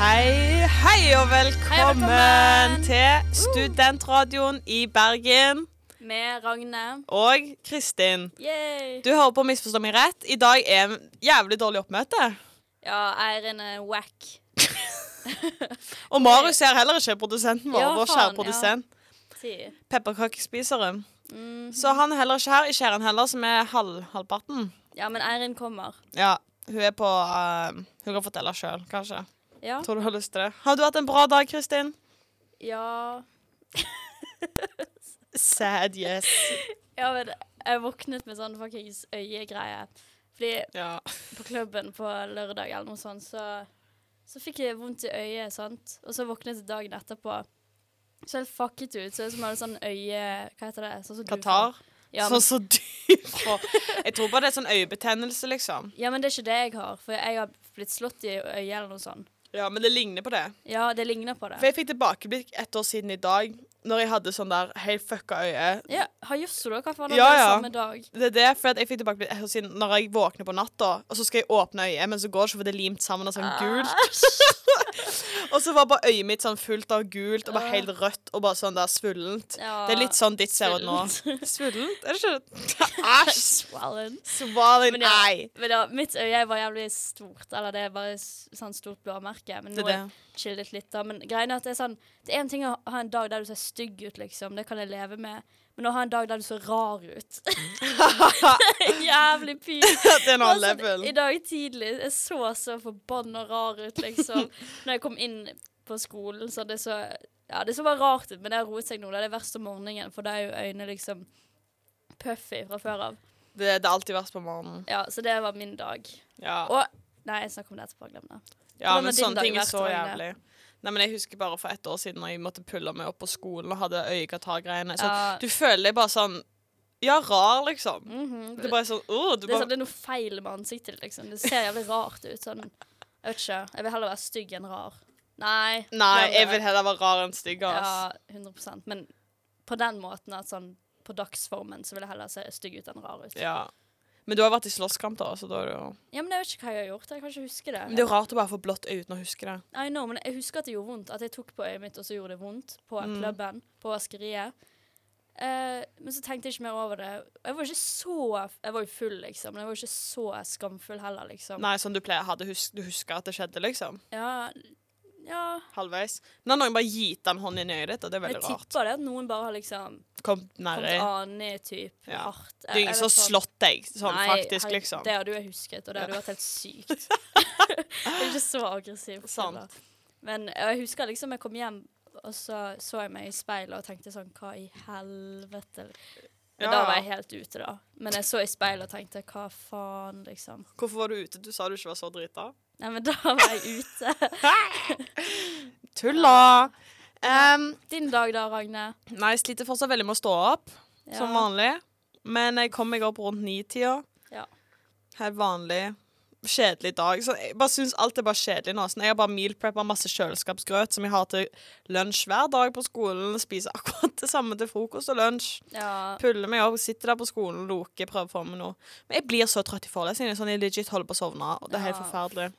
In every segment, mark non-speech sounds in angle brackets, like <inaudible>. Hei, hei og velkommen, velkommen! Uh. til Studentradioen i Bergen Med Ragne. og Kristin. Yay! Du hører på Misforstå meg rett. I dag er en jævlig dårlig oppmøte. Ja, Eirin er whack. Og Marius ser heller ikke produsenten vår, Ja, vår faen, kjære produsent. Ti. Pepperkakespiseren. Mm. Så han er heller ikke her. Ikke er han heller, som er halv, halvparten. Ja, men Eirin kommer. Ja, hun er på eh, Hun kan fortelle sjøl, kanskje. Ja. Tror du har lyst til det. Har du hatt en bra dag, Kristin? Ja, Sad yes. ja men jeg våknet med sånn fuckings øyegreie. Fordi Ja. på klubben på lørdag eller noe sånt, så, så fikk jeg vondt i øyet, sant? Og så våknet jeg dagen etterpå. Så helt fucket ut. Så jeg som hadde sånn øye... Hva heter det? Sånn som du får. Qatar. Ja, men, Sånn som du <laughs> får. Jeg tror bare det er sånn øyebetennelse, liksom. ja, men det er ikke det jeg har. For jeg har blitt slått i øyet eller noe sånt. Ja, men det ligner på det. Ja, det ligner på det. For jeg fikk tilbakeblikk ett år siden i dag, når jeg hadde sånn der helt fucka øye. Ja, har Josso da? Hva faen Ja, ja, ja. ja. samme dag? Det er det, for at jeg fikk tilbakeblikk ett år siden når jeg våkner på natta, og så skal jeg åpne øyet, men så går det ikke, for det er limt sammen av sånn Ah, <laughs> gult. Og så var bare øyet mitt sånn fullt av gult, og bare helt rødt, og bare sånn der svullent. Ja. Det er litt sånn ditt ser ut nå. Svullent? Er <laughs> det ikke? Æsj! Swollen. Swallowing Men ja, eye. men ja, mitt øye var jævlig stort, eller det er bare s- sånn stort blåmerke. Men Det nå er har jeg chillet litt, da. Men greien er at det er sånn Det er én ting å ha en dag der du ser stygg ut, liksom. Det kan jeg leve med. Men å ha en dag der du ser rar <laughs> ut <laughs> Jævlig pin. <laughs> Det er en annen Det var sånn, level. I dag tidlig Jeg så så forbanna rar ut, <laughs> liksom. Når jeg kom inn på skolen, så det så Ja, det så bare rart ut, men det har roet seg nå. Det er det verste om morgenen, for da er jo øynene liksom puffy fra før av. Det, det er alltid verst på morgenen. Ja, så det var min dag. Ja. Og Nei, jeg snakker om det etterpå. Glem det. Ja, Hvordan men har din sånne dag ting er vært, så Ragnhild? jævlig. Nei, men Jeg husker bare for ett år siden når jeg måtte pulle meg opp på skolen og hadde øyekatargreiene. Sånn, Ja. Du føler deg bare sånn Ja, rar, liksom. Mhm. Det er bare sånn åh, du Det er, sånn, bare, det er noe feil med ansiktet, liksom. Det ser jævlig rart ut. Sånn. Jeg vet ikke. Jeg vil heller være stygg enn rar. Nei. Nei, glem jeg det. vil heller være rar enn stygg. ass. Ja, 100 Men på den måten at sånn på dagsformen så vil jeg heller se stygg ut enn rar ut. Ja, Ja. Men du har vært i slåsskamp, da. Så da er det jo... men jeg vet ikke hva jeg har gjort. Jeg kan ikke huske det. Men det er jo rart å bare få blått øye uten å huske det. I know, men jeg husker at det gjorde vondt. At jeg tok på øyet mitt, og så gjorde det vondt på Mm. klubben, på vaskeriet. Eh, men så tenkte jeg ikke mer over det. Jeg var ikke så Jeg var jo full, liksom, men jeg var ikke så skamfull heller, liksom. Nei, sånn du pleier hadde hus Du husker at det skjedde, liksom. Ja, ja Halvveis. Men når noen bare giter en hånd inn i øyet ditt, og det er Jeg veldig rart. tipper det at noen bare har liksom Kom kommet nærmere. ane typ Ja. hardt. Det er ingen som har slått deg sånn faktisk, herre- liksom. Det hadde jo jeg husket, og det hadde jo vært helt <laughs> sykt. jeg er ikke så aggressiv. Sant. heller. Men jeg husker liksom jeg kom hjem, og så så jeg meg i speilet og tenkte sånn Hva i helvete? Men Ja, Da ja. var jeg helt ute, da. Men jeg så i speilet og tenkte hva faen, liksom. Hvorfor var du ute? Du sa du ikke var så drita. Nei, men <laughs> da var jeg ute. Tulla! Um, Din dag da, Ragne? nei, jeg sliter fortsatt veldig med å stå opp, Ja. som vanlig. Men jeg kom meg opp rundt nitida. Ja. Helt vanlig. Kjedelig dag. Så jeg bare syns alt er bare kjedelig nå. Sånn, jeg har bare mealpreppa masse kjøleskapsgrøt som jeg har til lunsj hver dag på skolen. Spiser akkurat det samme til frokost og lunsj. Ja. Puller meg opp, sitter der på skolen, loker, prøver å få meg noe. Men jeg blir så trøtt i forelesningene. Sånn, jeg legit holder på å sovne. Og det er helt Ja. forferdelig.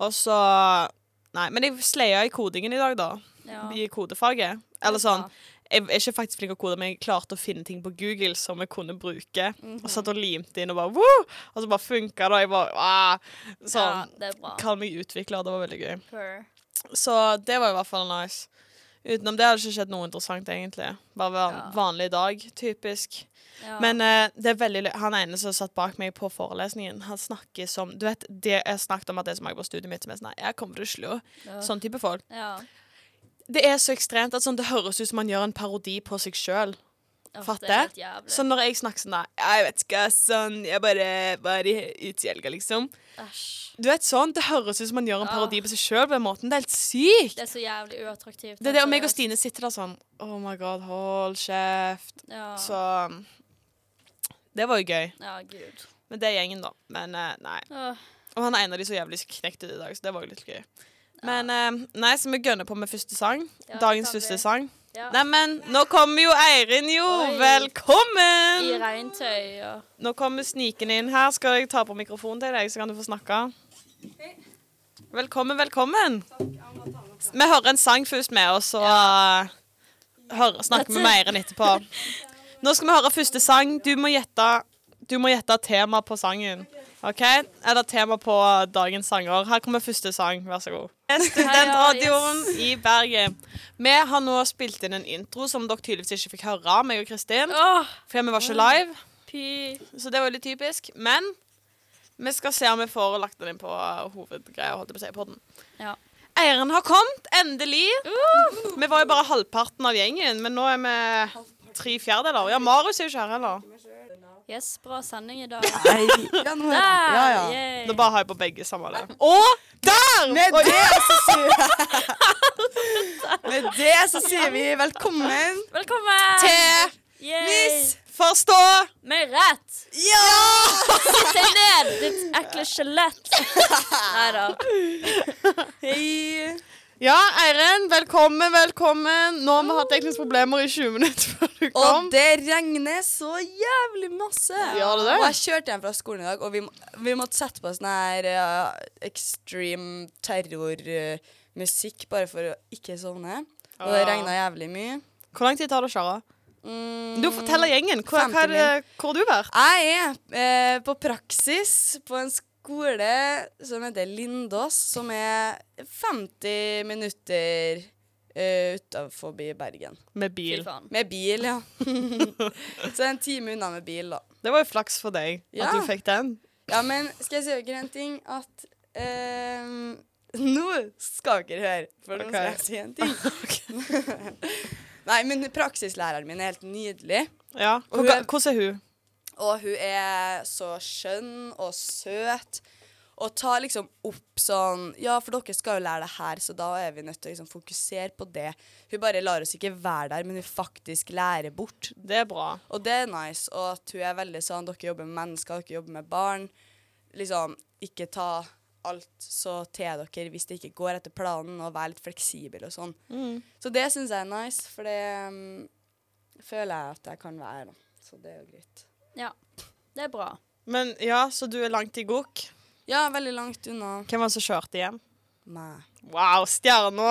Og så Nei, men jeg sleia i kodingen i dag, da ja. i kodefaget. Eller Det er sånn, jeg er ikke faktisk flink til å kode, men jeg klarte å finne ting på Google som jeg kunne bruke. mhm. Og satt og limte inn og bare Woo! Og så bare funka det, og jeg bare «Ah!» Ja, Sånn. det er bra. Kall meg utvikler. Det var veldig gøy. Purr. Så det var i hvert fall nice. Utenom det har det ikke skjedd noe interessant, egentlig. Bare van Ja. vanlig dag, typisk. Ja. Men eh, det er veldig lø han ene som satt bak meg på forelesningen, han snakker som Du vet, det jeg snakket om at det er så mange på studiet mitt som er sånn «Nei, Jeg kommer til Oslo. Ja. Sånn type folk. ja. Det er så ekstremt at sånn, det høres ut som man gjør en parodi på seg sjøl. Åh, Det Fatter? er helt jævlig. Så når jeg snakker sånn da Jeg vet ikke, sånn Jeg bare var i- ute i helga, liksom. Æsj. Du vet sånn, Det høres ut som man gjør en Ah. parodi på seg sjøl på den måten. Det er helt sykt! Det er så jævlig uattraktivt. Det er det, og meg og seriøst. Stine sitter der sånn Oh my god, hold kjeft. Ja. Så um, Det var jo gøy. ja, gud. Men det er gjengen, da. Men eh, nei. Åh, Og han er en av de så jævlig knekt ut i dag, så det var jo litt gøy. Men eh, nei, så vi gønner på med første sang. Ja, Dagens kan vi. første sang. ja. Neimen, nå kommer jo Eirin, jo! Oi. I Velkommen! regntøy og Nå kommer snikende inn her. Skal jeg ta på mikrofonen til deg, så kan du få snakke? Velkommen, velkommen. Vi hører en sang først med, og så eh, hører, snakker vi Dette- mer enn etterpå. Nå skal vi høre første sang. Du må gjette, du må gjette tema på sangen. OK? Eller tema på dagens sanger. Her kommer første sang. Vær så god. Studentradioen i Bergen. Vi har nå spilt inn en intro som dere tydeligvis ikke fikk høre, meg og Kristin. Åh, For vi var ikke live. py. Så det var litt typisk. Men vi skal se om vi får lagt den inn på eh, hovedgreia. holdt jeg på å si, på den. Ja. Eieren har kommet, endelig. Uh, Vi var jo bare halvparten av gjengen, men nå er vi tre fjerdedeler. Ja, Marius er jo ikke her heller. yes, bra sending i dag. Nei, ja, nå, Der! ja, ja. yay. Da bare har jeg på begge samme det. Og der! Med Oi, det så <laughs> sier Med det så sier vi velkommen Velkommen! til Yay. Forstå! Med rett! Ja! Sitt deg ned, ditt ekle skjelett. Nei da. Hei! Ja, Eiren, velkommen, velkommen. Nå har vi hatt tekniske problemer i 20 minutter før du kom. Og det regner så jævlig masse. Gjør det det? Og jeg kjørte hjem fra skolen i dag, og vi, må- vi måtte sette på sånn her eh, extreme terrormusikk eh, bare for å ikke sovne. Og det Ah. regna jævlig mye. Hvor lang tid tar det å kjøre? Mm. Du forteller gjengen. Hvor, hva er det, hvor har du vært? Jeg er eh, på praksis på en skole som heter Lindås, som er 50 minutter eh, utenfor Bergen. Med Fy bil. faen. Med bil, ja. <laughs> Så en time unna med bil, da. Det var jo flaks for deg Ja. at du fikk den. Ja, men skal jeg si dere en ting? At ehm, <laughs> Nå skal dere høre, for nå skal Ok. jeg si en ting. <laughs> Nei, men praksislæreren min er helt nydelig. Ja. Og hun Hvor, er- hvordan er hun? Og hun er så skjønn og søt. Og tar liksom opp sånn Ja, for dere skal jo lære det her, så da er vi nødt til å liksom fokusere på det. Hun bare lar oss ikke være der, men hun faktisk lærer bort. Det er bra. Og det er nice. Og at hun er veldig sånn Dere jobber med mennesker, dere jobber med barn. Liksom, ikke ta alt så til dere hvis det ikke går etter planen, og vær litt fleksibel og sånn. Mm. Så det syns jeg er nice, for det mm, føler jeg at jeg kan være, da. Så det er jo greit. Ja, det er bra. Men ja, så du er langt i gokk. Ja, veldig langt unna Hvem var det som kjørte igjen? meg. Wow, Uh, stjerna!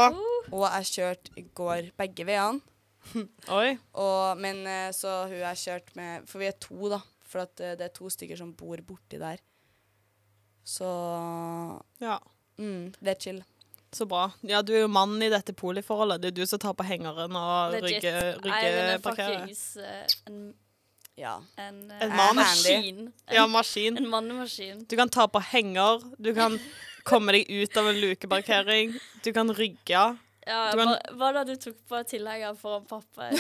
Og jeg kjørte i går begge veiene. Oi. Og, men eh, så hun jeg kjørte med For vi er to, da. For at eh, det er to stykker som bor borti der. Så Ja, mm, det er chill. så bra. Ja, du er jo mannen i dette poliforholdet. Det er jo du som tar på hengeren og Legit. rygge- Eiren er <laughs> ryggeparkerer. fuckings eh, en, Ja. en, eh, En mann. maskin. En, Ja, maskin. en mannemaskin. Du kan ta på henger. Du kan komme deg ut av en lukeparkering. Du kan rygge. Ja, Du kan- hva, hva da du tok på tilhenger foran <laughs> pappa?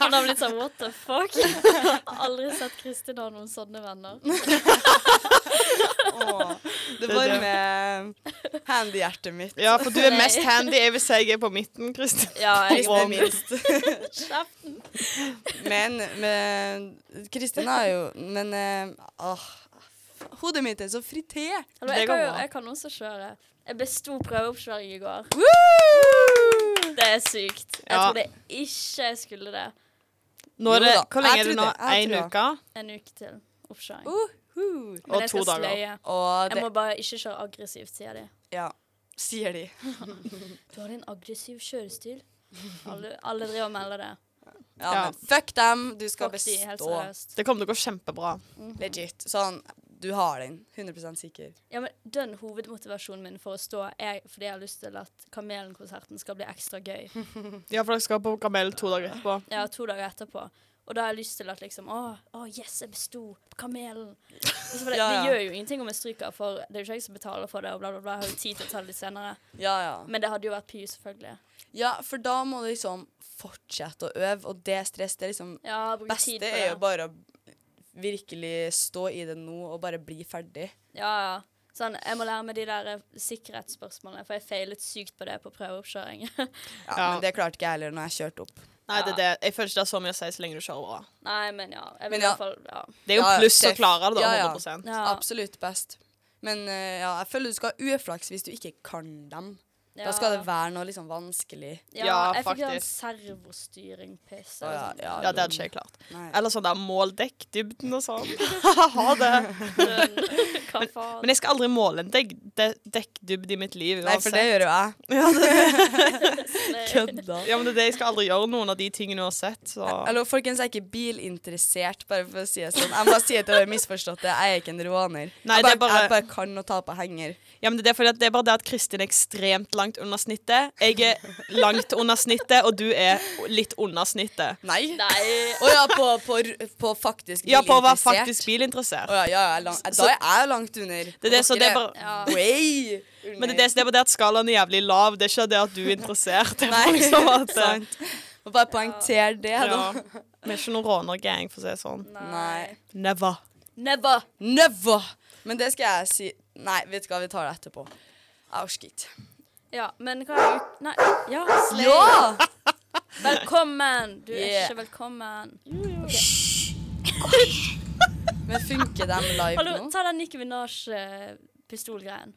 Han har blitt sånn what the fuck? Jeg har aldri sett Kristin ha noen sånne venner. Åh, Det det er varmer handy-hjertet mitt. Ja, for du er Nei. mest handy. Jeg vil si jeg er på midten, Kristin. Ja, jeg Hvis det er Wow. minst. Kjeft. Men, men Kristin har jo Men eh, åh, Hodet mitt er så frité. Hallo, Det jeg, går kan jo, bra. jeg kan også kjøre. Jeg besto prøveoppkjøring i går. Woo! Det er sykt. Jeg Ja. trodde ikke jeg skulle det. Nå er det, Jo da, hvor lenge jeg er det nå? tror det, jeg Én tror det. uke? En uke til oppkjøring. Uhu. Men Uh. og jeg to skal dager. sløye. Og Jeg det må bare ikke kjøre aggressivt, sier de. Ja, sier de. Du har en aggressiv <laughs> kjørestil. Alle, alle driver og melder det. Ja, Ja. men fuck dem. Du skal Fuck de, helt bestå. seriøst. Mm. Det kommer til å gå kjempebra. Legit. Sånn, du har den. 100 sikker. Ja, men Den hovedmotivasjonen min for å stå er fordi jeg har lyst til at Kamelen-konserten skal bli ekstra <laughs> gøy. Ja, for dere skal på Kamel to dager etterpå. Ja, to dager etterpå. Og da har jeg lyst til at liksom Å, å, yes, jeg besto på Kamelen. Altså, for det, <laughs> Ja, ja. det gjør jo ingenting om jeg stryker, for det er jo ikke jeg som betaler for det, og bla, bla, bla. Jeg har jo tid til å ta det litt senere. Ja, ja. Men det hadde jo vært py, selvfølgelig. Ja, for da må du liksom fortsette å øve, og det er stress. Det er liksom Ja, bruke tid beste på er jo det. bare å virkelig stå i det nå og bare bli ferdig. Ja, ja. Sånn, jeg må lære meg de der eh, sikkerhetsspørsmålene, for jeg feilet sykt på det på prøveoppkjøring. <laughs> Ja, Ja. Men det klarte ikke jeg heller når jeg kjørte opp. Nei, det er det. Jeg føler ikke det er så mye å si så lenge du kjører bra. Nei, men ja. Jeg Men vil i ja. hvert fall ja. Det er jo Ja, ja, pluss å det- klare det, da. ja, ja. 100 ja. Absolutt best. Men eh, ja, jeg føler du skal ha uflaks hvis du ikke kan dem. Da skal det være noe liksom vanskelig. Ja, Ja, jeg fikk sånn faktisk. servostyring-piss. Å, ja, ja, Ja, det hadde ikke jeg klart. Nei. Eller sånn der mål dekkdybden og <laughs> sånn. ha det. Hva faen? Men jeg skal aldri måle en dekk, de, dekkdybde i mitt liv Nei, for det gjør jo jeg. Kødda. Ja, men det er det jeg skal aldri gjøre noen av de tingene uansett, så Hallo, folkens, jeg er ikke bilinteressert, bare for å si det sånn. Jeg må si at dere har misforstått det. Jeg er ikke en råner. Nei, jeg, bare, det er bare- jeg bare kan å ta på henger. Ja, men det er, fordi at det er bare det at Kristin er ekstremt langt under snittet. Jeg er langt under snittet, og du er litt under snittet. Nei. Nei. Å ja, på, på, r- på faktisk Ja, på å være bilinteressert. faktisk bilinteressert. Å ja, ja, jeg er lang, da er jeg langt under. Det er det, så det er bare, Ja. Way! under. men det er det, så det er bare det at skalaen er jævlig lav. Det er ikke det at du er interessert. Det er <laughs> Nei, bare liksom at, sant. Må bare poengtere det, Ja. da. <laughs> Vi er ikke noen rånergang, for å si det sånn. Nei. Never. Never. Never! Men det skal jeg si Nei, vet du hva, vi tar det etterpå. Jeg orker ikke. Ja, men hva er ut... Nei. Ja, slay. Ja! Velkommen. Du er Yeah. ikke velkommen. Men funker de live Hallo, nå? ta den Nicki eh, Minaj-pistolgreien.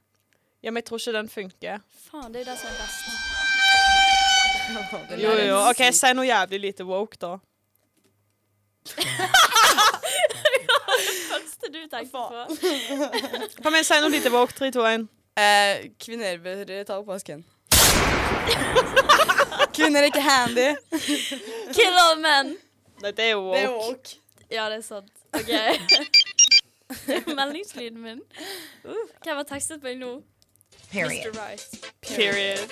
Ja, men jeg tror ikke den funker. Faen, det er jo det som er best. Jo, jo. OK, si noe jævlig lite woke, da. første du tenkte på. Kom igjen, si noe lite woke. 3, 2, 1. Eh, kvinner bør ta oppvasken. Kvinner er ikke handy. Kill all men! Nei, det er jo woke. woke. Ja, det er sant. OK. Det er Meldingslyden min. Uh, hvem har tekstet meg nå? Mr. Right. Period.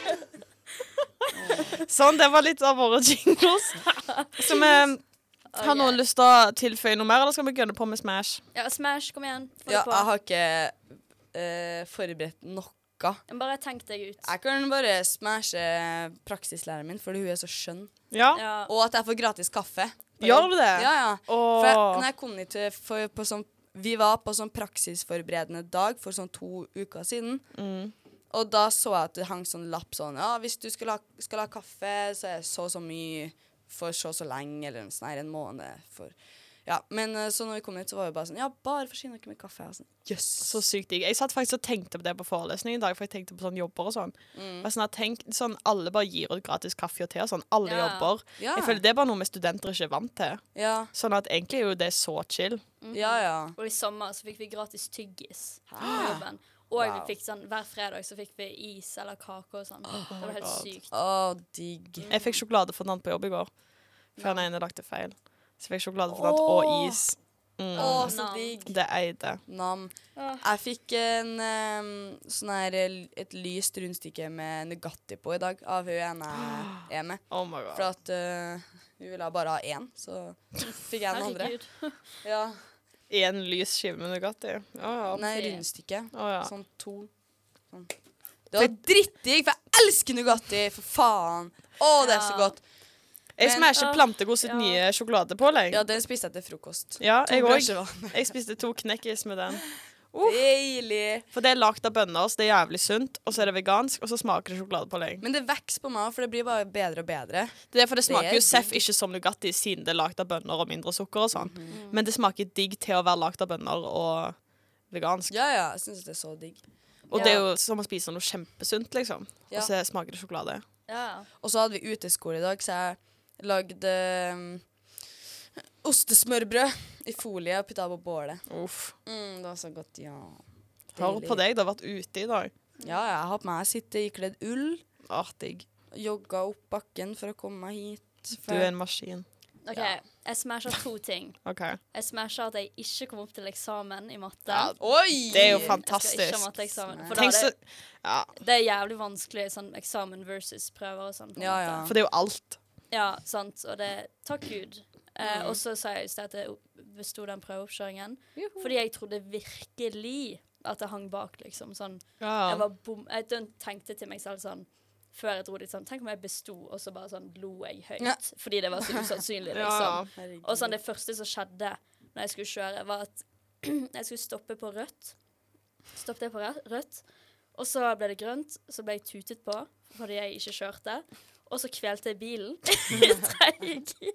<laughs> sånn, det var litt av våre <laughs> jingles. Så vi har noen lyst til å tilføye noe mer, eller skal vi gønne på med Smash? Ja, Smash, kom igjen. Få det Ja, på. jeg har ikke eh, forberedt noe. Men Bare tenk deg ut. Jeg kan bare smashe praksislæreren min, fordi hun er så skjønn. Ja. Ja. Og at jeg får gratis kaffe. Gjør du det? Ja, ja. For jeg, Åh. når jeg kom hit til for, på sånn, Vi var på sånn praksisforberedende dag for sånn to uker siden. mm, Og da så jeg at det hang sånn lapp sånn Ja, hvis du skal ha, skal ha kaffe, så er det så og så mye for så og så lenge, eller en sånn her en måned for Ja. Men eh, så når vi kom hit, så var vi bare sånn Ja, bare forsyn dere med kaffe. Jeg var sånn, Jøss. Så sykt digg. Jeg satt faktisk og tenkte på det på forelesning i dag, for jeg tenkte på sånn jobber og sånn. Og Sånn, at tenk, sånn, alle bare gir ut gratis kaffe og te og sånn. Alle Ja. jobber. Ja. Jeg føler det er bare noe vi studenter ikke er vant til. Ja, Sånn at egentlig er jo det så chill. ja, ja. Og i sommer så fikk vi gratis tyggis på jobben. Og Wow. vi fikk sånn, hver fredag så fikk vi is eller kake og sånn. det var helt sykt. Å, digg. Jeg fikk sjokoladefondant på jobb i går, for han ene lagde feil. Så jeg fikk sjokoladefondant og Åh. is. Mm. Å, så Nam. digg. Det eide. Nam. Jeg fikk en, em, sånn her, eh, et lyst rundstykke med Nugatti på i dag, av hun ene jeg er med. Oh my For god. at eh, hun ville bare ha én, så fikk jeg den andre. Herregud. Ja. Én lys skive med Nugatti. Å ja. Nei, tre. rundstykke. Å, ja. Sånn to. Sånn. Det var drittdigg, for jeg elsker Nugatti, for faen. Å, det er så Ja. godt. Jeg Men- smasher Åh, Plantegod sitt ja. nye sjokoladepålegg. Ja, den spiste jeg til frokost. Ja, jeg òg. brødskiver. Jeg spiste to knekkis med den. Uh. Deilig. For det er lagd av bønner, så det er jævlig sunt, og så er det vegansk, og så smaker det sjokoladepålegg. Men det vokser på meg, for det blir bare bedre og bedre. Det er for det smaker Det er jo seff ikke som Nugatti, siden det er lagd av bønner og mindre sukker og sånn. Mm. Men det smaker digg til å være lagd av bønner og vegansk. Ja, ja. Jeg syns det er så digg. Og det er jo som å spise noe kjempesunt, liksom. Ja. Og så smaker det sjokolade. Ja. Og så hadde vi uteskole i dag, så jeg lagde um, ostesmørbrød i folie og putta på bålet. Uff. Mm, det var så godt, ja. Hør Deilig. på deg, du har vært ute i dag. Ja, jeg har på meg sittekledd ull. Åh, digg. Jogga opp bakken for å komme meg hit. Du er en maskin. OK, jeg smasher to ting. OK. Jeg smasher at jeg ikke kom opp til eksamen i matte. Ja, Oi! Det er jo Jeg skal ikke fantastisk. ha matteeksamen. For da Tenk er så det, Ja, det er jævlig vanskelig sånn eksamen versus prøver og sånn. på en Ja, måte. ja. for det er jo alt. Ja, sant. Og det Takk Gud. Eh, og så sa jeg just at jeg besto den prøveoppkjøringen. Fordi jeg trodde virkelig at jeg hang bak, liksom. Sånn. Jeg, var bom jeg døn- tenkte til meg selv sånn før jeg dro dit sånn Tenk om jeg besto, og så bare sånn lo jeg høyt. Ja. Fordi det var så usannsynlig, Ja, ja. liksom. Og sånn det første som skjedde når jeg skulle kjøre, var at <clears throat> jeg skulle stoppe på rødt. Stoppet jeg på rø- rødt, og så ble det grønt. Så ble jeg tutet på fordi jeg ikke kjørte. Og så kvelte jeg bilen <laughs> i tredje gir.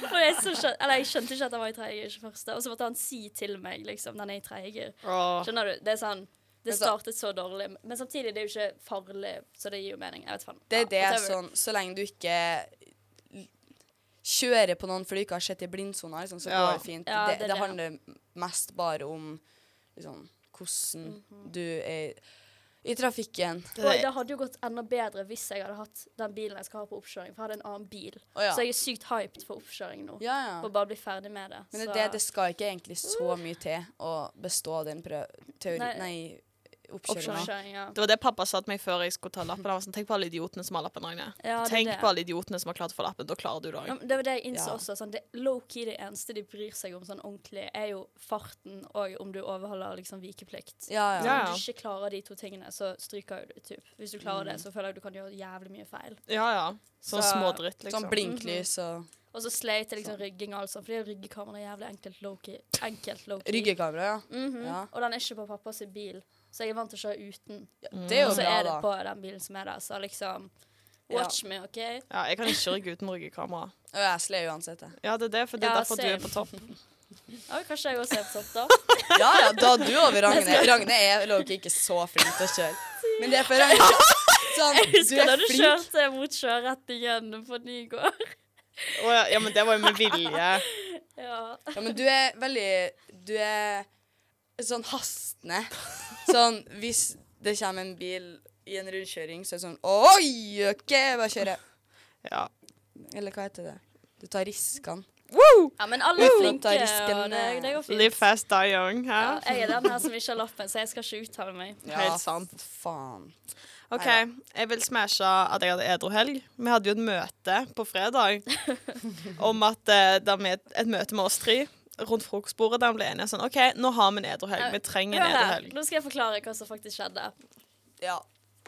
For jeg, så skjøn- eller jeg skjønte ikke at han var i tredje gir, ikke første. Og så måtte han si til meg, liksom, den er i tredje gir. Åh. Skjønner du? Det er sånn Det Men så- startet så dårlig, men samtidig det er jo ikke farlig, så det gir jo mening. Jeg vet faen. Det Ja, er det whatever. sånn Så lenge du ikke l- kjører på noen for du ikke har sett i blindsona, liksom, så Ja. går det fint. Ja, det, det det, er det. handler mest bare om liksom, hvordan Mhm. du er i trafikken. Det, Og det, det hadde jo gått enda bedre hvis jeg hadde hatt den bilen jeg skal ha på oppkjøring, for jeg hadde en annen bil. Å, ja. Så jeg er sykt hyped for oppkjøring nå. Ja, ja. For bare å bli ferdig med det. Men det, så- er det, det skal ikke egentlig så mye til å bestå den prøv... Teori... Nei. Nei, oppkjøringa. Oppkjøring, ja. det var det pappa sa til meg før jeg skulle ta lappen. Han var sånn, Tenk på alle idiotene som har lappen, Ragne. Ja, det er Tenk det. på alle idiotene som har klart å få lappen. Da klarer du det Ja, òg. men Det var det jeg innså Ja. også. Sånn, det Low-key det eneste de bryr seg om sånn ordentlig, er jo farten og om du overholder liksom vikeplikt. Ja, ja. Ja. Om du ikke klarer de to tingene, så stryker jo du. Typ. Hvis du klarer Mm. det, så føler jeg du kan gjøre jævlig mye feil. Ja, ja. Sånn Så- smådritt, liksom. Sånn blinklys Mhm. og Og så sleit jeg Sånn. liksom rygging, altså. Fordi ryggekamera er jævlig enkelt low-key. Enkelt low-key. Ryggekamera, ja. Mhm. Ja. Og den er ikke på pappas bil, så jeg er vant til å kjøre uten. Det Og er Mm. jo så er det bra, da. på den bilen som er der, så liksom Watch me, OK? Ja, jeg kan ikke rygge uten ryggekamera. Og jeg sler uansett, jeg. Ja, det er det, for det er Ja, derfor du er same. på topp. Ja, kanskje jeg også er på topp, <laughs> da. Ja, ja, da er du over Ragne. Ragne er lowkey ikke så flink til å kjøre. Men det er for Ragne sånn, Jeg Du husker da er du flink. kjørte mot sjørettingen på Nygård. <laughs> Å, ja, ja, men det var jo med vilje. Ja. Ja, men du er veldig Du er sånn hastende. Sånn hvis det kommer en bil i en rundkjøring, så er det sånn Oi, OK, bare kjøre. Ja. Eller hva heter det? Du tar riskene. ja, men alle er Uten å flinke, ta Uh, risken, eh, og det, det går fint. Live fast, die young. Hæ? Ja, jeg er den her som ikke har lappen, så jeg skal ikke uttale meg. Helt sant. Faen. OK, Neida. jeg vil smashe at jeg hadde edruhelg. Vi hadde jo et møte på fredag <laughs> om at eh, der vi, Et møte med oss tre rundt frokostbordet der vi ble enige sånn OK, nå har vi en edruhelg. Vi trenger en Hør her, edruhelg. nå skal jeg forklare hva som faktisk skjedde. Ja.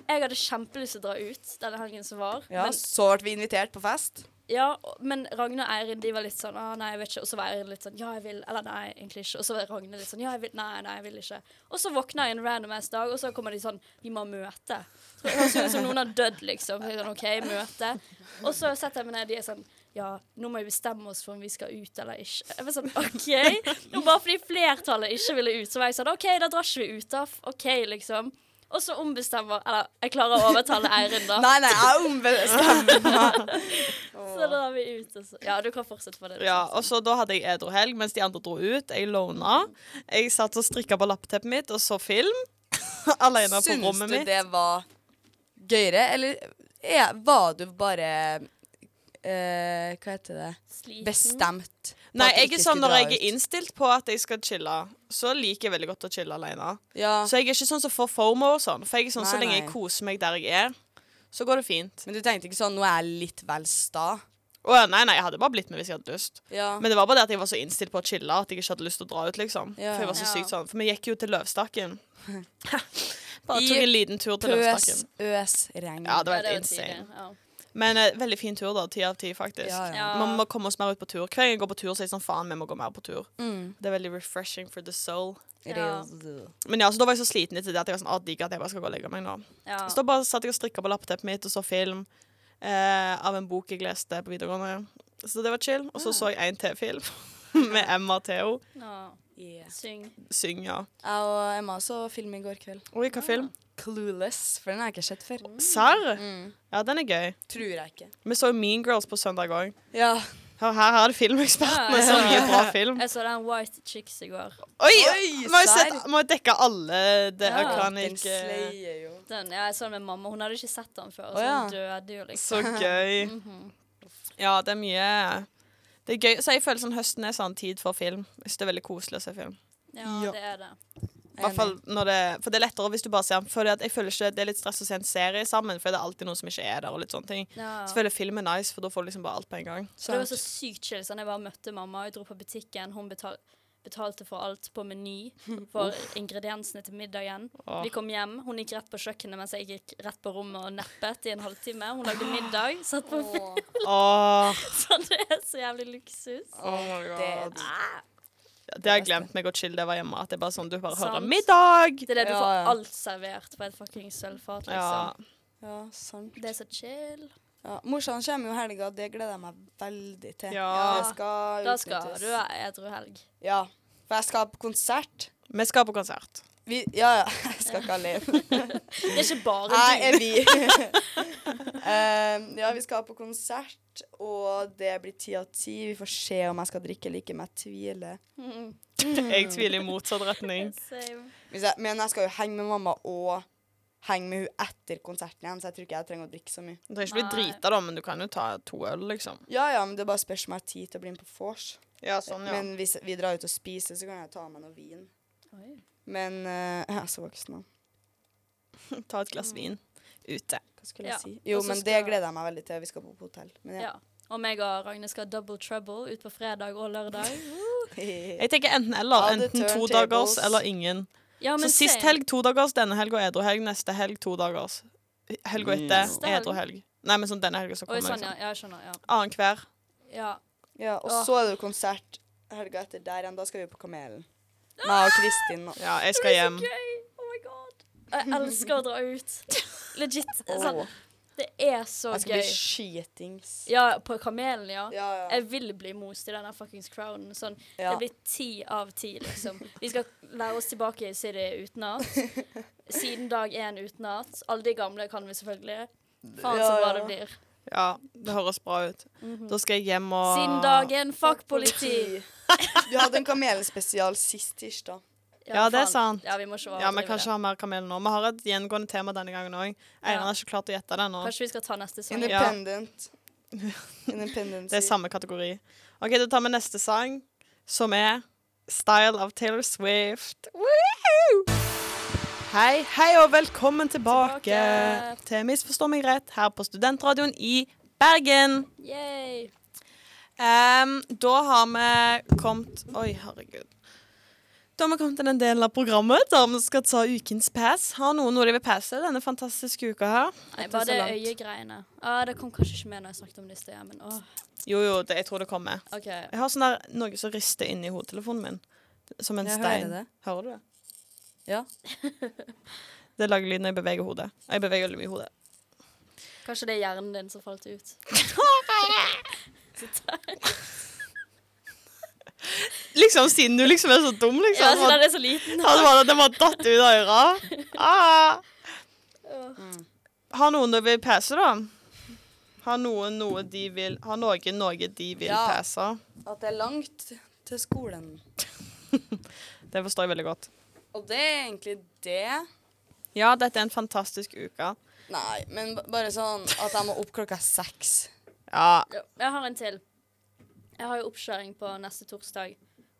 Jeg hadde kjempelyst til å dra ut denne helgen som var. ja. Men, Så ble vi invitert på fest. ja, og- men Ragne og Eirin de var litt sånn ah, 'Nei, jeg vet ikke.' Og så var Eirin litt sånn 'Ja, jeg vil.' Eller 'Nei, egentlig ikke.' Og så var Ragne litt sånn 'Ja, jeg vil.' 'Nei, nei, jeg vil ikke.' Og så våkner jeg en random ass dag, og så kommer de sånn 'Vi må ha møte'. Så Det høres jo ut som noen har dødd, liksom. Så jeg er sånn, OK, møte. Og så setter jeg meg ned, de er sånn Ja, nå må vi bestemme oss for om vi skal ut eller ikke. Jeg var sånn, OK. Nå bare fordi flertallet ikke ville ut, så var jeg sånn OK, da drar ikke vi ut, da. OK, liksom. Og så ombestemmer Eller jeg klarer å overtale Eirin, da. Nei, nei, jeg ombestemmer. Så da drar vi ut, og så Ja, du kan fortsette på det. Ja, og så Da hadde jeg edruhelg mens de andre dro ut. Jeg lona. Jeg satt og strikka på lappeteppet mitt og så film. <laughs> Alene på Syns rommet du mitt. det var gøyere, eller er, var du bare eh, Hva heter det? Sliten. Bestemt? på Nei, at du jeg ikke er sånn skulle når dra jeg er ut? innstilt på at jeg skal chille, så liker jeg veldig godt å chille alene. ja. Så jeg er ikke sånn som får fomo og sånn. For jeg er sånn, så Nei, lenge jeg nei. koser meg der jeg er, så går det fint. Men du tenkte ikke sånn Nå er jeg litt vel sta? Å nei, nei, jeg hadde bare blitt med hvis jeg hadde lyst. Ja. Men det var bare det at jeg var så innstilt på å chille at jeg ikke hadde lyst til å dra ut, liksom. Ja. For jeg var så Ja. sykt sånn. For vi gikk jo til Løvstakken. bare I tok en liten tur til Pøs, Løvstakken. øs, regn. Ja, det Ja, var det helt var tidlig. insane. Ja. Men eh, veldig fin tur, da. Ti av ti, faktisk. Ja, ja. Ja. Man må komme oss mer ut på tur. Hver gang jeg går på tur, så er jeg sånn faen, vi må gå mer på tur. Mm. Det er veldig refreshing for the soul. Ja. Real- Men ja, så da var jeg så sliten etter det at jeg var sånn, ah, digg at jeg bare skal gå og legge meg nå. Ja. Så da bare satt jeg og strikka på lappeteppet mitt og så film eh, av en bok jeg leste på videregående. Så det var chill. Og så så jeg en til-film <laughs> med Emma og Theo. Ja. Yeah. Syng. Syng, ja. Jeg og Emma så film i går kveld. Oi, hva film? Clueless. For den har jeg ikke sett før. Serr? Mm. Ja, den er gøy. Tror jeg ikke. Vi så Mean Girls på søndag òg. Ja. Her, her er det filmekspertene så mye bra film. Jeg så den White Chicks i går. Oi! Oi, Vi har jo serr? sett- vi har jo dekka alle The Ja. Den Iconic. eh, slayer jo. Den, ja, jeg så den med mamma. Hun hadde ikke sett den før. Så Å, ja. hun døde jo, liksom. Mhm. Så gøy. Ja, det er mye Det er gøy. Så jeg føler sånn høsten er sånn tid for film. Jeg synes det er veldig koselig å se film. Ja, Ja. det er det. I hvert fall når det, for det er lettere hvis du bare ser for jeg føler ikke det er litt stress å se en serie sammen, for det er alltid noen som ikke er der. og litt sånne ting. Ja. Så føler jeg film er nice, for da får du liksom bare alt på en gang. Og det var så sykt chill. Sånn, jeg bare møtte mamma, jeg dro på butikken, hun betal betalte for alt på Meny. <laughs> For ingrediensene til middagen. Åh. Vi kom hjem, hun gikk rett på kjøkkenet mens jeg gikk rett på rommet og neppet i en halvtime. Hun lagde middag. Satt på <laughs> Åh. Åh, Så det er så jævlig luksus. oh my God. Det har jeg glemt meg å chille det var hjemme. At det er bare sånn du bare hører Sant. 'middag'! Det er det du Ja, får ja. alt servert på et fucking sølvfat, Ja. liksom. Ja, sant. Det er så chill. Ja, Morsan kommer jo i helga, det gleder jeg meg veldig til. Ja. Det skal Da skal utnyttes. du ha edru helg. Ja, for jeg skal på konsert. Vi skal på konsert. Vi, ja, ja. <laughs> Jeg skal ikke alene. Det er ikke bare Jeg du. er vi. <laughs> Ehm, ja, vi skal på konsert, og det blir ti av ti. Vi får se om jeg skal drikke eller ikke, men jeg tviler. Mm, Jeg tviler i motsatt retning. same. Hvis jeg, men jeg skal jo henge med mamma og henge med hun etter konserten igjen, så jeg tror ikke jeg trenger å drikke så mye. Du trenger ikke bli drita, da, men du kan jo ta to øl, liksom. Ja, ja, men det er bare spørs om jeg har tid til å bli med på vors. Ja, sånn, ja. Men hvis vi drar ut og spiser, så kan jeg ta med noe vin. Oi. Men eh, <laughs> jeg er så voksen nå. Ta et Mm. glass vin ute. Hva skulle Ja, jeg si? Jo, og så men det skal- gleder jeg meg veldig til. Vi skal bo på hotell. Men ja. Ja. Og meg og Ragne skal ha double trouble ut på fredag og <laughs> lørdag. Jeg tenker enten eller. Ja, det Enten to turntables. dagers eller ingen. Ja, men Så sist same. helg to dagers, denne helg og edru helg. Neste helg to dagers. Helg og etter Neste helg. edru helg. Nei, men sånn denne helga som Oi, kommer. sånn, ja. Liksom. ja. Jeg skjønner. Ja. Annenhver. ja. <laughs> ja, og Åh. så er det jo konsert helga etter der igjen. Da skal vi på Kamelen. Meg og Kristin. og- Ja, jeg skal hjem. Det blir så gøy! Oh my god. Jeg elsker å dra <laughs> ut. Legit. Sånn, Åh, det er så Jeg skal gøy. bli skitings. Ja, på Kamelen, ja. Ja, ja. Jeg vil bli most i denne fuckings crowden. Sånn, Ja. Det blir ti av ti, liksom. Vi skal lære oss tilbake i City utenat. Siden dag én utenat. Alle de gamle kan vi selvfølgelig. Faen så Ja, bra ja. det blir. Ja, det høres bra ut. Da skal jeg hjem og Siden dag én, fuck politi! Du hadde en Kamelen-spesial sist tirsdag. Ja, det er faen. sant. Ja, vi må ikke Ja, vi overdrive kan ikke det. ha mer kamel nå. Vi har et gjengående tema denne gangen òg. Einar har ikke klart å gjette det nå. Kanskje vi skal ta neste sang? det- <laughs> Independent. Det Independence. er samme kategori. OK, da tar vi neste sang, som er Style av Taylor Swift. Woohoo! Hei, hei og velkommen tilbake, Tilbake. til Misforstå meg rett her på Studentradioen i Bergen. Yay. Em, da har vi kommet Oi, herregud. Da har vi kommet til den delen av programmet der vi skal ta ukens pass. Har noen noe de vil passe denne fantastiske uka her? Dette Nei, er bare så det langt. øyegreiene. Ah, det kom kanskje ikke med når jeg snakket om det i sted, men åh. Jo, jo, det, jeg tror det kommer. OK. Jeg har sånn der, noe som rister inni hodetelefonen min. Som en Jeg stein. hører det. Hører du det? Ja. <laughs> Det lager lyd når jeg beveger hodet. Og jeg beveger veldig mye hodet. Kanskje det er hjernen din som falt ut. Liksom siden du liksom er så dum, Ja, liksom. så Ja, den er så liten. det bare, det bare datt ut av øret. Ah. Har noen det vil pese, da? Har noen noe de vil Har noen noe de vil Ja. pese? At det er langt til skolen. Det forstår jeg veldig godt. Og det er egentlig det. Ja, dette er en fantastisk uke. Nei, men b- bare sånn at jeg må opp klokka seks. Ja. Jo, Jeg har en til. Jeg har jo oppkjøring på neste torsdag.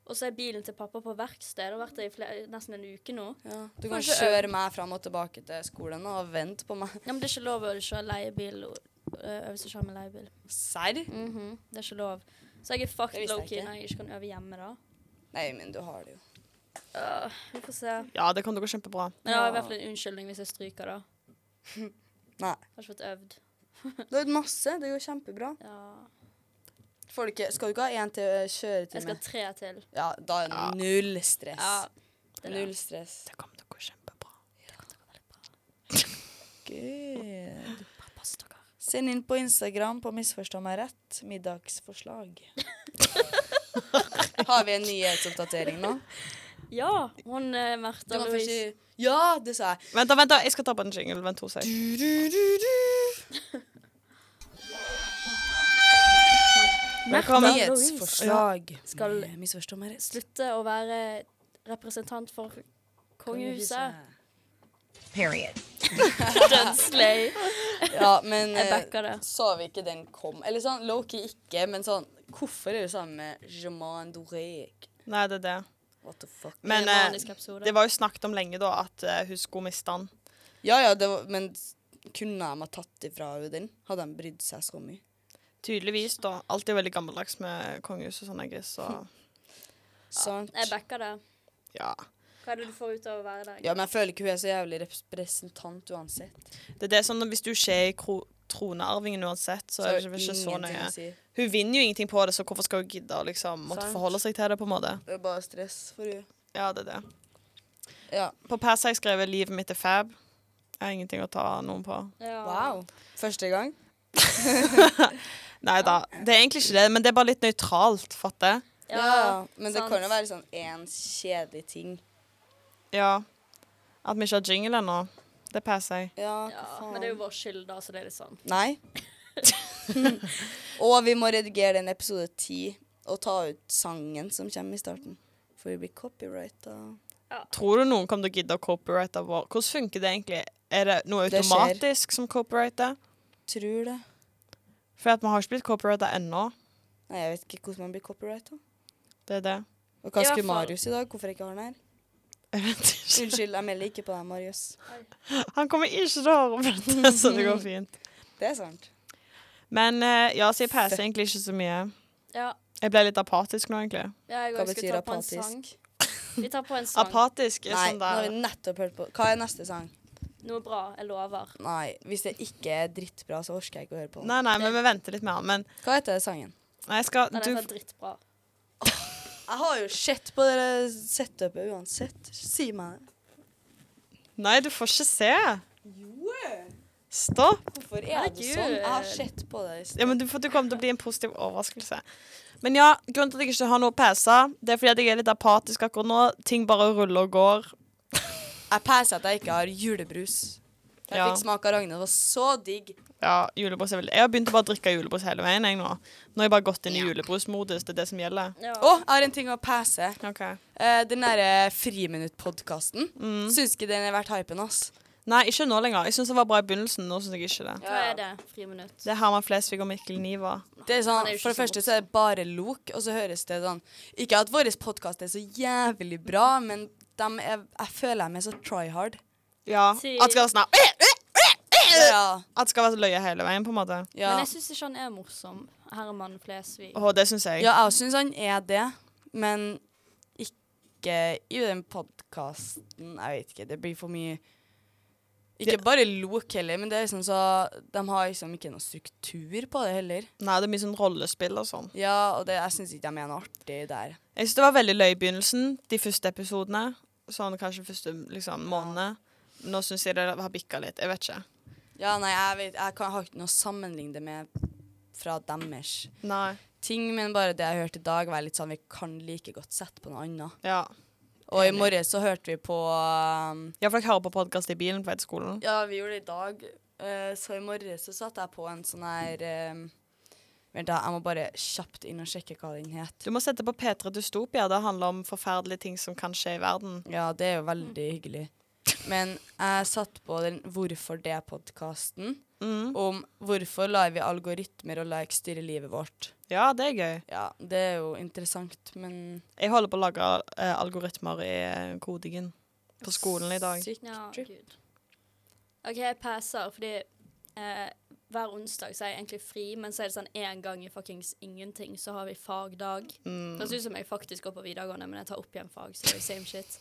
Og så er bilen til pappa på verksted. Det har vært det i fle- nesten en uke nå. Du kan Kanskje- kjøre meg fram og tilbake til skolen og vente på meg. <laughs> Ja, men det er ikke lov å kjøre leiebil øh, hvis du ikke har med leiebil. Serr? Mhm, Det er ikke lov. Så jeg er Det fucked visste jeg low-key ikke. når jeg ikke kan øve hjemme, da. Nei, men du har det jo. Øh, vi får se. ja, det kan du gå kjempebra. Men jeg har i Ja. hvert fall en unnskyldning hvis jeg stryker, da. <laughs> Nei. Har ikke fått øvd. <laughs> Du har gjort masse. Det går kjempebra. Ja. Får du ikke, skal du ikke ha én til å kjøre Jeg til skal ha meg? tre til. Ja, da er Ja. det null stress. Ja. det er det. Null stress. Det kommer til å gå kjempebra. Good. Pass dere. Send inn på Instagram på Misforstå meg rett <laughs> middagsforslag. har vi en nyhetsoppdatering nå? Ja, hun uh, Märtha Du kan Louise. først si Ja, det sa jeg. Vent, da, vent, da. Jeg skal ta på en jingle. Vent to sek. Velkommen. Nyhetsforslag. Skal- Med Misforstå meg rett. slutte å være representant for kongehuset. Period. Dødslei. <laughs> Ja, <laughs> men Jeg eh, backer det. så vi ikke den kom. Eller sånn, Loki ikke, men sånn Hvorfor er du sammen med Germain Dorek? Nei, det er det. What the fuck? Men Det er en eh, manisk episode. det var jo snakket om lenge da at eh, hun skulle miste han. Ja ja, det var, men kunne de ha tatt ifra henne den? Hadde de brydd seg så mye? Tydeligvis, da. Alltid veldig gammeldags med kongehus og sånn, jeg, så Sant? Jeg backer det. ja. Hva er det du får ut av å være der? Ja, men jeg føler ikke hun er så jævlig representant uansett. Det er det som hvis du ikke er i kro tronarvingen uansett, så er det ikke, ikke så ingenting nøye. å si. Hun vinner jo ingenting på det, så hvorfor skal hun gidde å liksom måtte Sant. forholde seg til det, på en måte? Det er bare stress for henne. Ja, det er det. Ja. På pass har jeg skrevet 'Livet mitt er fab'. Jeg har ingenting å ta noen på. Ja. Wow. Første gang? Nei da. Det er egentlig ikke det, men det er bare litt nøytralt, fatter jeg. Ja, Ja, Men det sant. kan jo være sånn én kjedelig ting. Ja. At vi ikke har jingle ennå. Det passer jeg. Ja, hva Ja, faen. men det er jo vår skyld, da, så det er litt sånn. <laughs> Nei. og vi må redigere den episode ti og ta ut sangen som kommer i starten. For vi blir copyrighta. Tror du noen kommer til å gidde å copyrighte vår? Hvordan funker det egentlig? Er det noe Det skjer. automatisk som copyrighter? Tror det. For at vi har ikke blitt copyrighta ennå. Nei, jeg vet ikke hvordan man blir copyrighta. Det er det. <laughs> I Og hva hvert skulle fall- Marius i dag? Hvorfor jeg ikke har han her? Jeg vet ikke. Unnskyld, jeg melder ikke på deg, Marius. Han kommer ikke til å høre på <laughs> dette, så det går fint. Det er sant. Men eh, ja, så jeg passer egentlig ikke så mye. Ja. Jeg ble litt apatisk nå, egentlig. ja jeg Hva også betyr skulle ta på en sang. apatisk? Vi tar på en sang. Apatisk er Nei, sånn nå har der vi nettopp hørt på Hva er neste sang? Noe bra. Jeg lover. Nei, hvis det ikke er drittbra, så orker jeg ikke å høre på den. Nei, nei, men vi venter litt mer. Men Hva heter sangen? nei, jeg skal Den du, er fra drittbra. Jeg har jo sett på det setupet uansett. Si meg det. Nei, du får ikke se. Jo! Stopp. Hvorfor er det sånn? Jeg har sett på det. i sted. Ja, men du, for du kommer til å bli en positiv overraskelse. Men ja, grunnen til at jeg ikke har noe å pese, det er fordi at jeg er litt apatisk akkurat nå. Ting bare ruller og går. Jeg passer at jeg ikke har julebrus. Jeg Ja. fikk smak av Ragnhild, det var så digg. Ja, julebrus er vel Jeg har begynt å bare drikke julebrus hele veien, jeg nå. Nå har jeg bare gått inn i julebrusmodus. Det er det som gjelder. Ja. Å, jeg har en ting å passe. OK. Eh, den derre Friminutt-podkasten. Syns ikke den er verdt hypen, ass. Nei, ikke nå lenger. Jeg syns det var bra i begynnelsen. Nå syns jeg ikke det. Hva er det? Friminutt. Det er Herman Flesvig og Mikkel Niva. Det er sånn, Han er jo ikke for det så første så er det bare lok, og så høres det sånn Ikke at vår podkast er så jævlig bra, men dem er, jeg føler dem er så try hard. Ja. At det skal være sånn her, Ja. At det skal være løye hele veien, på en måte. ja. Men jeg syns ikke han er morsom. Herman Flesvig. Åh, det syns jeg. Ja, jeg syns han er det, men ikke i den podkasten. Jeg vet ikke, det blir for mye Ikke bare lok heller, men det er liksom så de har liksom ikke noe struktur på det heller. Nei, det er mye sånn rollespill og sånn. Ja, og det, jeg syns ikke de er noe artig der. Jeg syns det var veldig løy i begynnelsen, de første episodene. Sånn kanskje første liksom, månedene. Nå syns jeg det har bikka litt. Jeg vet ikke. Ja, nei, jeg vet Jeg kan, har ikke noe å sammenligne det med fra deres Nei. ting, men bare det jeg hørte i dag, var litt sånn vi kan like godt sette på noe annet. Ja. Og i morges så hørte vi på um, Ja, for jeg hører på podkast i bilen på vei til skolen. Ja, vi gjorde det i dag. Eh, så i morges så satt jeg på en sånn her eh, Vent, da. Jeg må bare kjapt inn og sjekke hva den het. Du må sette på P3 Dystopia. Det handler om forferdelige ting som kan skje i verden. Ja, det er jo veldig hyggelig. Men jeg satt på den Hvorfor det-podkasten. Mm. Om hvorfor lar vi algoritmer og like styre livet vårt. Ja, det er gøy. Ja, det er jo interessant, men Jeg holder på å lage eh, algoritmer i eh, kodingen på skolen i dag. Sykt Ja, trip. gud. OK, jeg passer, fordi eh, hver onsdag så er jeg egentlig fri, men så er det sånn én gang i fuckings ingenting, så har vi fagdag. Mm. Det høres ut som jeg faktisk går på videregående, men jeg tar opp igjen fag, så det er jo same shit.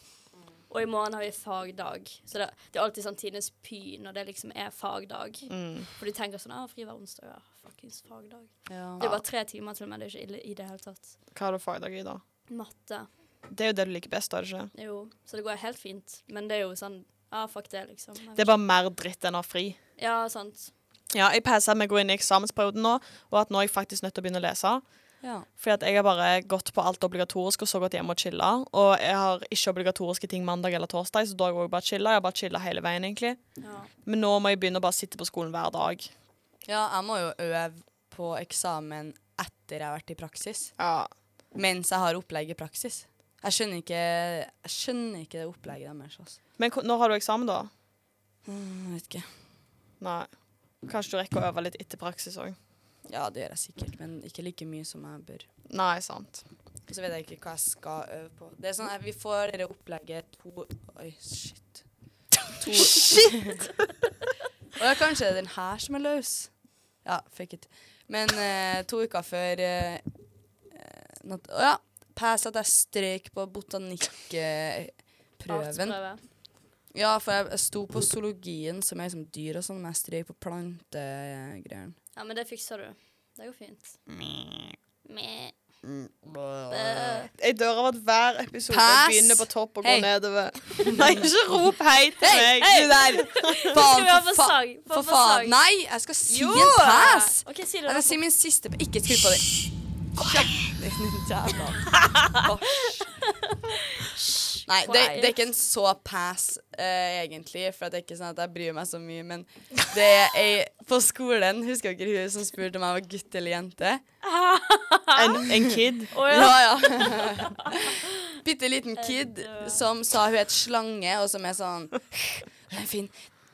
Og i morgen har vi fagdag, så det, det er alltid sånn tidenes py når det liksom er fagdag. Mm. For du tenker sånn ah, fri hver onsdag, ja, fuckings fagdag. Ja. Det er bare tre timer til, men det er ikke ille i det hele tatt. Hva har du fagdag i, da? Matte. Det er jo det du liker best, er det ikke? det? Jo, så det går helt fint, men det er jo sånn ah, fuck det, liksom. Jeg Det er bare mer dritt enn å ha fri. Ja, sant. Ja, jeg passer at vi går inn i eksamensperioden nå, og at nå er jeg faktisk nødt til å begynne å lese. Ja. Fordi at jeg har bare gått på alt obligatorisk og så gått hjem og chilla. Og jeg har ikke obligatoriske ting mandag eller torsdag, så da har jeg også bare chilla. Jeg har bare chilla hele veien, egentlig. Ja. Men nå må jeg begynne å bare sitte på skolen hver dag. ja, jeg må jo øve på eksamen etter jeg har vært i praksis. Ja. mens jeg har opplegg i praksis. Jeg skjønner ikke, jeg skjønner ikke det opplegget deres. Altså. Men ko- når har du eksamen, da? Mm, Jeg vet ikke. Nei. Kanskje du rekker å øve litt etter praksis òg. Ja, det gjør jeg sikkert, men ikke like mye som jeg bør. Nei, sant. Og så vet jeg ikke hva jeg skal øve på. Det er sånn at Vi får dette opplegget to Oi, shit. To <laughs> Shit! Og det er kanskje den her som er løs. Ja, fuck it. Men eh, to uker før eh, eh, natt- Å ja. Pass at jeg strøyk på botanikkprøven. Artsprøve. Ja, for jeg, jeg sto på zoologien, som er liksom dyr og sånn, men jeg strøk på plantegreiene. Ja, men det fikser du. Det går fint. Meh. Jeg dør av at hver episode Pass! begynner på topp og går Hei. nedover. <laughs> Nei, ikke rop hei til Hei, meg! du der! høre Faen, for, på fa sang, høre for på faen. sang. Nei, jeg skal si Jo! en pass! OK, si det. Jeg da. skal si min siste pa- Ikke skru på det. Jævla- Hysj. Nei, det, Quiet. det er ikke en så pass, eh, egentlig, for at det er ikke sånn at jeg bryr meg så mye, men det er ei på skolen Husker dere hun som spurte om jeg var gutt eller jente? En, en kid. Å ja. Ja, ja. <laughs> Bitte liten kid som sa hun het Slange, og som er sånn «Hun er fin.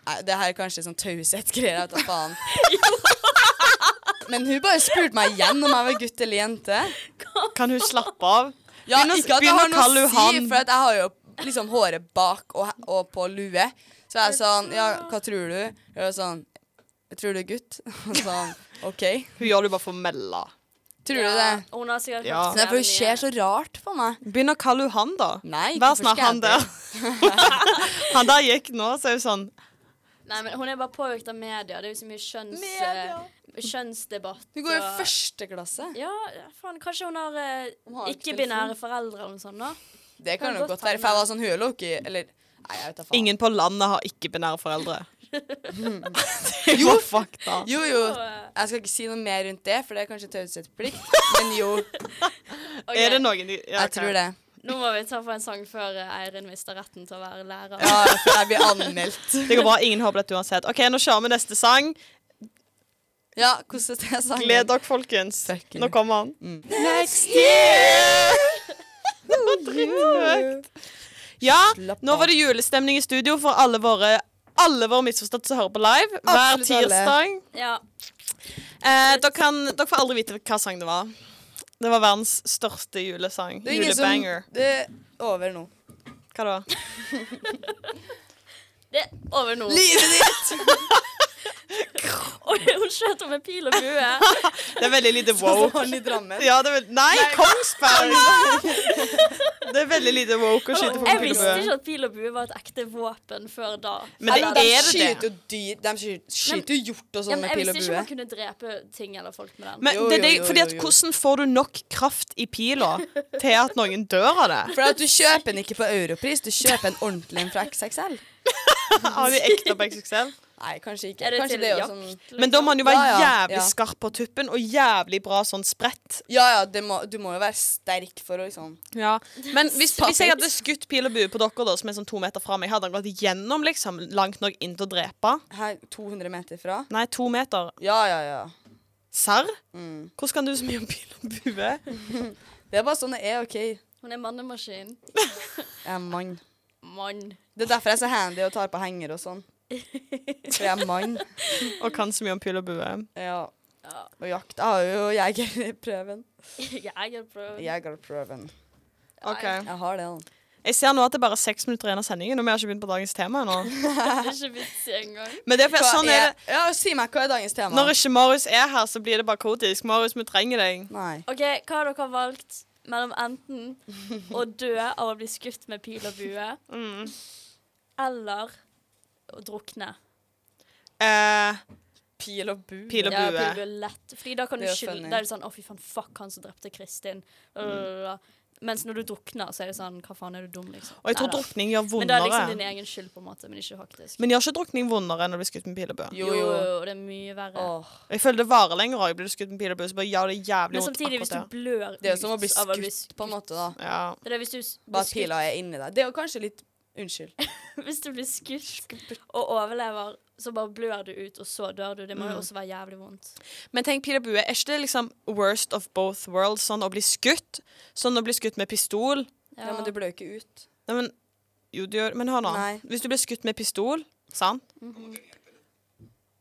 Nei, det her er kanskje sånn taushetsgreier, jeg vet <laughs> da faen. Men hun bare spurte meg igjen om jeg var gutt eller jente. Kan hun slappe av? Ja, Begynn å- ikke at begynn jeg å har noe kalle å hun si, han. for at jeg har jo liksom håret bak og, og på lue. Så jeg er sånn Ja, hva tror du? Jeg er sånn Jeg tror du er gutt. <laughs> Og sånn OK. Hun gjør det bare for å melde. Tror du det? Hun har sikkert Ja. vært Nei, for hun jævlig ser så rart på meg. Begynn å kalle hun han, da. Nei, Vær hvorfor snill, skal jeg han der. han der <laughs> gikk nå, så er hun sånn Nei, men Hun er bare påvirket av media. Det er jo så mye kjønns, Media. eh, kjønnsdebatt. Du går i og- første klasse. Ja, faen, kanskje hun har eh, Hun har ikke ikke-binære foreldre eller noe sånt. da. Det kan Kan jo godt godt være, for jeg var sånn Hun er jo ikke Eller Nei, jeg vet da faen. Ingen på landet har ikke-binære foreldre. det er <laughs> jo fakta. Hmm. Jo, jo. Så, eh, Jeg skal ikke si noe mer rundt det, for det er kanskje taushetsplikt. Men <laughs> jo, ok, Er det noen de ja, jeg ok. tror det. Nå må vi ta på en sang før eh, Eirin mister retten til å være lærer. Ja, for jeg blir anmeldt. Det går bra. Ingen håper dette uansett. OK, nå kjører vi neste sang. Ja, hvordan er det sangen? Gled dere, folkens. Fuck you. Nå kommer <laughs> han. Next year! Drithøyt. Ja, Slapp nå av. var det julestemning i studio for alle våre alle våre misforståtte som hører på live. Hver Absolutt alle. tirsdag. Ja. Eh, dere, kan, dere får aldri vite hva sang det var. Det var verdens største julesang. Det er ingen Julebanger. som Det er over nå. Hva det var? Det er over nå. <laughs> Livet <laughs> ditt! Oi, hun skjøt henne med pil og bue. Det er veldig <laughs> lite Wow. woke. i Drammen. Ja, det er veld... Nei, Kongsberg! <laughs> Det er veldig lite woke å skyte på Jeg visste pulebø. ikke at pil og bue var et ekte våpen før da. Men det Eller, er de det det. skyter jo dyr De skyter, skyter jo hjort Ja, og sånn men med jeg pil visste og ikke bue. man kunne drepe ting eller folk med den. Men Jo, det, jo, det, jo, fordi at jo, jo. hvordan får du nok kraft i pila til at noen dør av <laughs> det? For at du kjøper den ikke på europris, du kjøper en ordentlig en fra XXL. Har de ekte på XXL? Nei, kanskje ikke. er det kanskje til det er jo jakt? sånn Men da må han jo være Liksom. Ja, ja, jævlig ja. skarp på tuppen og jævlig bra sånn spredt. Ja ja, det må, du må jo være sterk for å liksom Men <laughs> hvis, hvis jeg hadde skutt pil og bue på dere, da, som er sånn to meter fra meg, hadde han gått gjennom liksom, langt nok inn til å drepe? Her, 200 meter fra. Nei, to meter. Ja ja ja. Mm. Serr? Hvordan kan du så mye om pil og bue? Det er bare sånn det er, OK. Jeg Hun er mannemaskin. er mann. Mann. Det er derfor jeg er så handy og tar på henger og sånn. For jeg er mann. Og kan så mye om pil og bue. Ja. Ja. <laughs> Og jakt. Jeg har jo jegerprøven. Jegerprøven. Jegerprøven. OK. Jeg har det, <laughs> da. Jeg ser nå at det er bare seks minutter igjen av sendingen, og vi har ikke begynt på dagens tema ennå. <laughs> Det er ikke vits i engang. Men det er for, sånn er det. Ja, si meg, hva er dagens tema? Når ikke Marius er her, så blir det bare kaotisk. Marius, vi trenger deg. Nei. OK, hva har dere valgt mellom enten å dø av å bli skutt med pil og bue, Mm. eller å drukne? Eh, Pil og bue. pil og Ja, pil og bue. bue er lett. Fordi da kan du Det er jo skylde funny. Da er det sånn 'Å, fy faen, fuck han som drepte Kristin'. Blablabla. Mens når du drukner, så er det sånn 'Hva faen, er du dum', liksom. Og jeg tror Neida. drukning gjør Men det er liksom din vondere. egen skyld, på en måte, men ikke faktisk. Men gjør ikke drukning vondere enn å bli skutt med pil og bue? Jo, jo. det er mye verre. Åh. Og Jeg føler det varer lenger òg. Blir du skutt med pil og bue, så bare gjør det jævlig Men vondt. samtidig, hvis akkurat du der. blør Det er jo som å bli ut av skutt, på en måte, da. ja. Det er det, hvis du s- blir Bare at skutt, pila er inni deg. Det er jo kanskje litt Unnskyld. <laughs> hvis du blir skutt og overlever, så bare blør du ut, og så dør du. Det Mm. må jo også være jævlig vondt. Men tenk, pil og bue, er ikke det liksom worst of both worlds? Sånn å bli skutt? Sånn å bli skutt med pistol? Ja, men du blør jo ikke ut. Nei, men Jo, du gjør Men hør nå. Nei. Hvis du blir skutt med pistol, sant?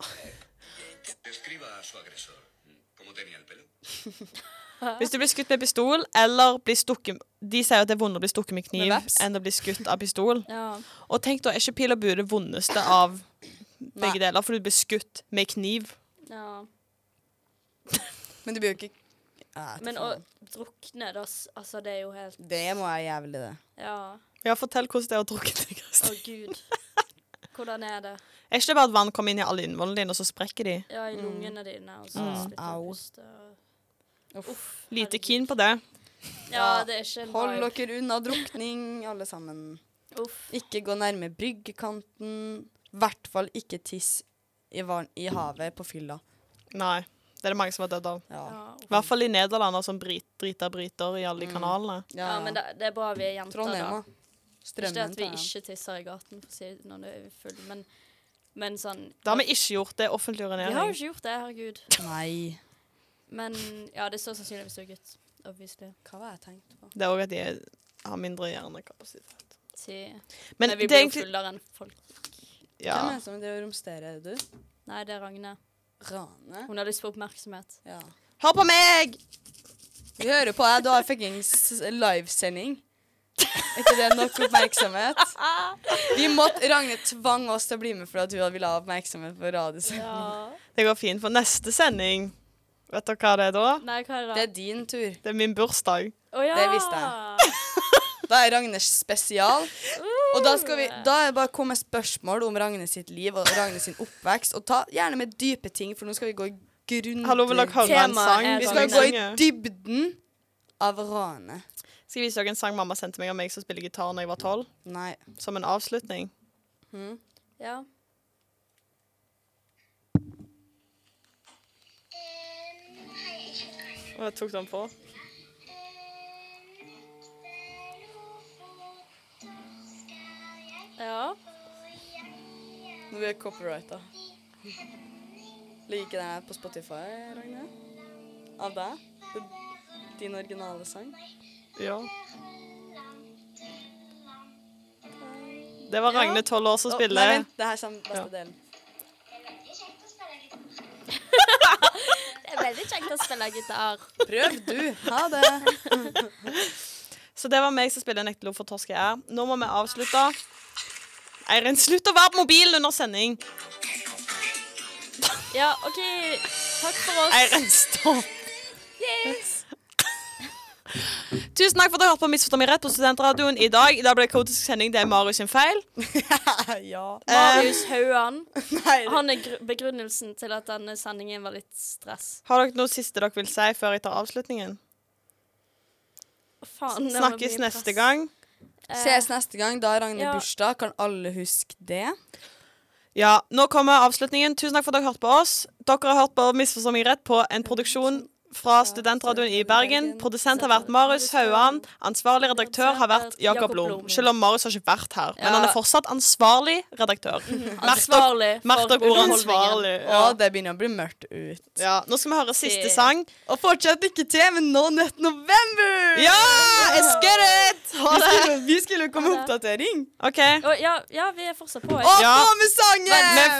Describa a su agresor. ¿Cómo tenía el pelo? Hvis du blir skutt med pistol eller blir stukket De sier at det er vondere å bli stukket med kniv Med veps. enn å bli skutt av pistol. Ja. Og tenk da, er ikke pil og bue det vondeste av begge deler? For du blir skutt med kniv. ja. Men du blir jo ikke Ja, jeg vet Men ikke å faen. drukne, da, s- altså, det er jo helt Det må være jævlig, det. Ja. Ja, fortell hvordan det er å drukne. Kristin. Å, gud. Hvordan er det? Er ikke det bare at vann kommer inn i alle innvollene dine, og så sprekker de? Ja, i lungene dine, og så Mm. slutter du Au. å puste. og- Uff. Lite herregud. keen på det. Ja, det er ikke en Hold vibe. dere unna drukning, alle sammen. Uff. Ikke gå nærme bryggekanten. I hvert fall ikke tiss i, var- i havet på fylla. Nei. Det er det mange som har dødd av. Ja. Ja, Ja, uff. I hvert fall i altså, Nederland, som brit, driter briter i alle de kanalene. Ja, men det, det er bra vi er jenter, Trondheim, da. da. Ikke det Strømmen at vi tar dem. ikke tisser i gaten for å si, når det er full, men, men sånn Det har vi ikke gjort. Det er offentlig Vi har jo urinering. ikke gjort det, herregud. Nei. Men ja, det står sannsynligvis du er gutt. Obviously. Hva var det jeg tenkte på? Det er òg at de har mindre hjernekapasitet. Si. Men Nei, det vi er blir jo egentlig fullere enn folk. ja. Hvem er det som driver og romsterer, du? Nei, det er Ragne. Rane? Hun har lyst på oppmerksomhet. <laughs> Ja. Hør på meg! Vi hører på deg. Du har fuckings livesending. Er ikke det nok oppmerksomhet? Vi måtte, Ragne tvang oss til å bli med for at hun ville ha oppmerksomhet på radiosendingen. Det går fint for neste sending. Vet dere hva det er da? Nei, hva er det da? Det er din tur. Det er min bursdag. Å, ja! det visste Da er Ragnes spesial. Og da, skal vi, da er det bare å komme med spørsmål om Ragnes sitt liv og Ragnes sin oppvekst. Og ta gjerne med dype ting, for nå skal vi gå i grunn Hallo, vil dere høre en Temaet sang? er Vi Vi skal skal gå i synge. dybden av ranet. Skal jeg vise dere en sang mamma sendte meg av meg som spiller gitar da jeg var tolv? Nei. Som en avslutning. Ja. Og jeg tok den på. ja. Nå blir jeg copyrighta. Ligger ikke den her på Spotify, Ragne? Av deg? Din originale sang? Ja. Det var Ragne tolv år som Nei, spiller. vent, det her kommer beste delen. Det er veldig kjekt å spille gitar. Prøv du. Ha det. Så det var meg som spiller Nektelov for Torsk jeg er. Nå må vi avslutte. Eirin, slutt å være på mobilen under sending! Ja, OK. Takk for oss. Eirin, stopp! Yes. Tusen takk for at dere hørte på Misforstå meg rett på Studentradioen i dag. I dag ble det kaotisk sending. Det er Marius sin feil. ja. Um, Marius Hauan. Nei, det- Han er gr begrunnelsen til at denne sendingen var litt stress. Har dere noe siste dere vil si før jeg tar avslutningen? Å, Faen, det var Snakkes mye neste press. gang. Eh, Ses neste gang. Da er Ragne Ja. bursdag. Kan alle huske det? Ja, nå kommer avslutningen. Tusen takk for at dere hørte på oss. Dere har hørt på Misforstå meg rett på en produksjon fra Studentradioen i Bergen. Produsent har vært Marius Hauan. Ansvarlig redaktør har vært Jakob Blom. Selv om Marius har ikke vært her, men han er fortsatt ansvarlig redaktør. Merk dere- <laughs> Ansvarlig. for Merk dere ordet underholdningen. 'ansvarlig'. Ja. Å, det begynner å bli mørkt ut. Ja, nå skal vi høre siste sang. Og fortsatt lykke til med No Nut November! Ja! Jeg skjønner det! Ha Vi det! skulle- Vi skulle jo komme med oppdatering. OK. Å, ja, ja, vi er fortsatt på. jeg. Og Ja. få med sangen! Vi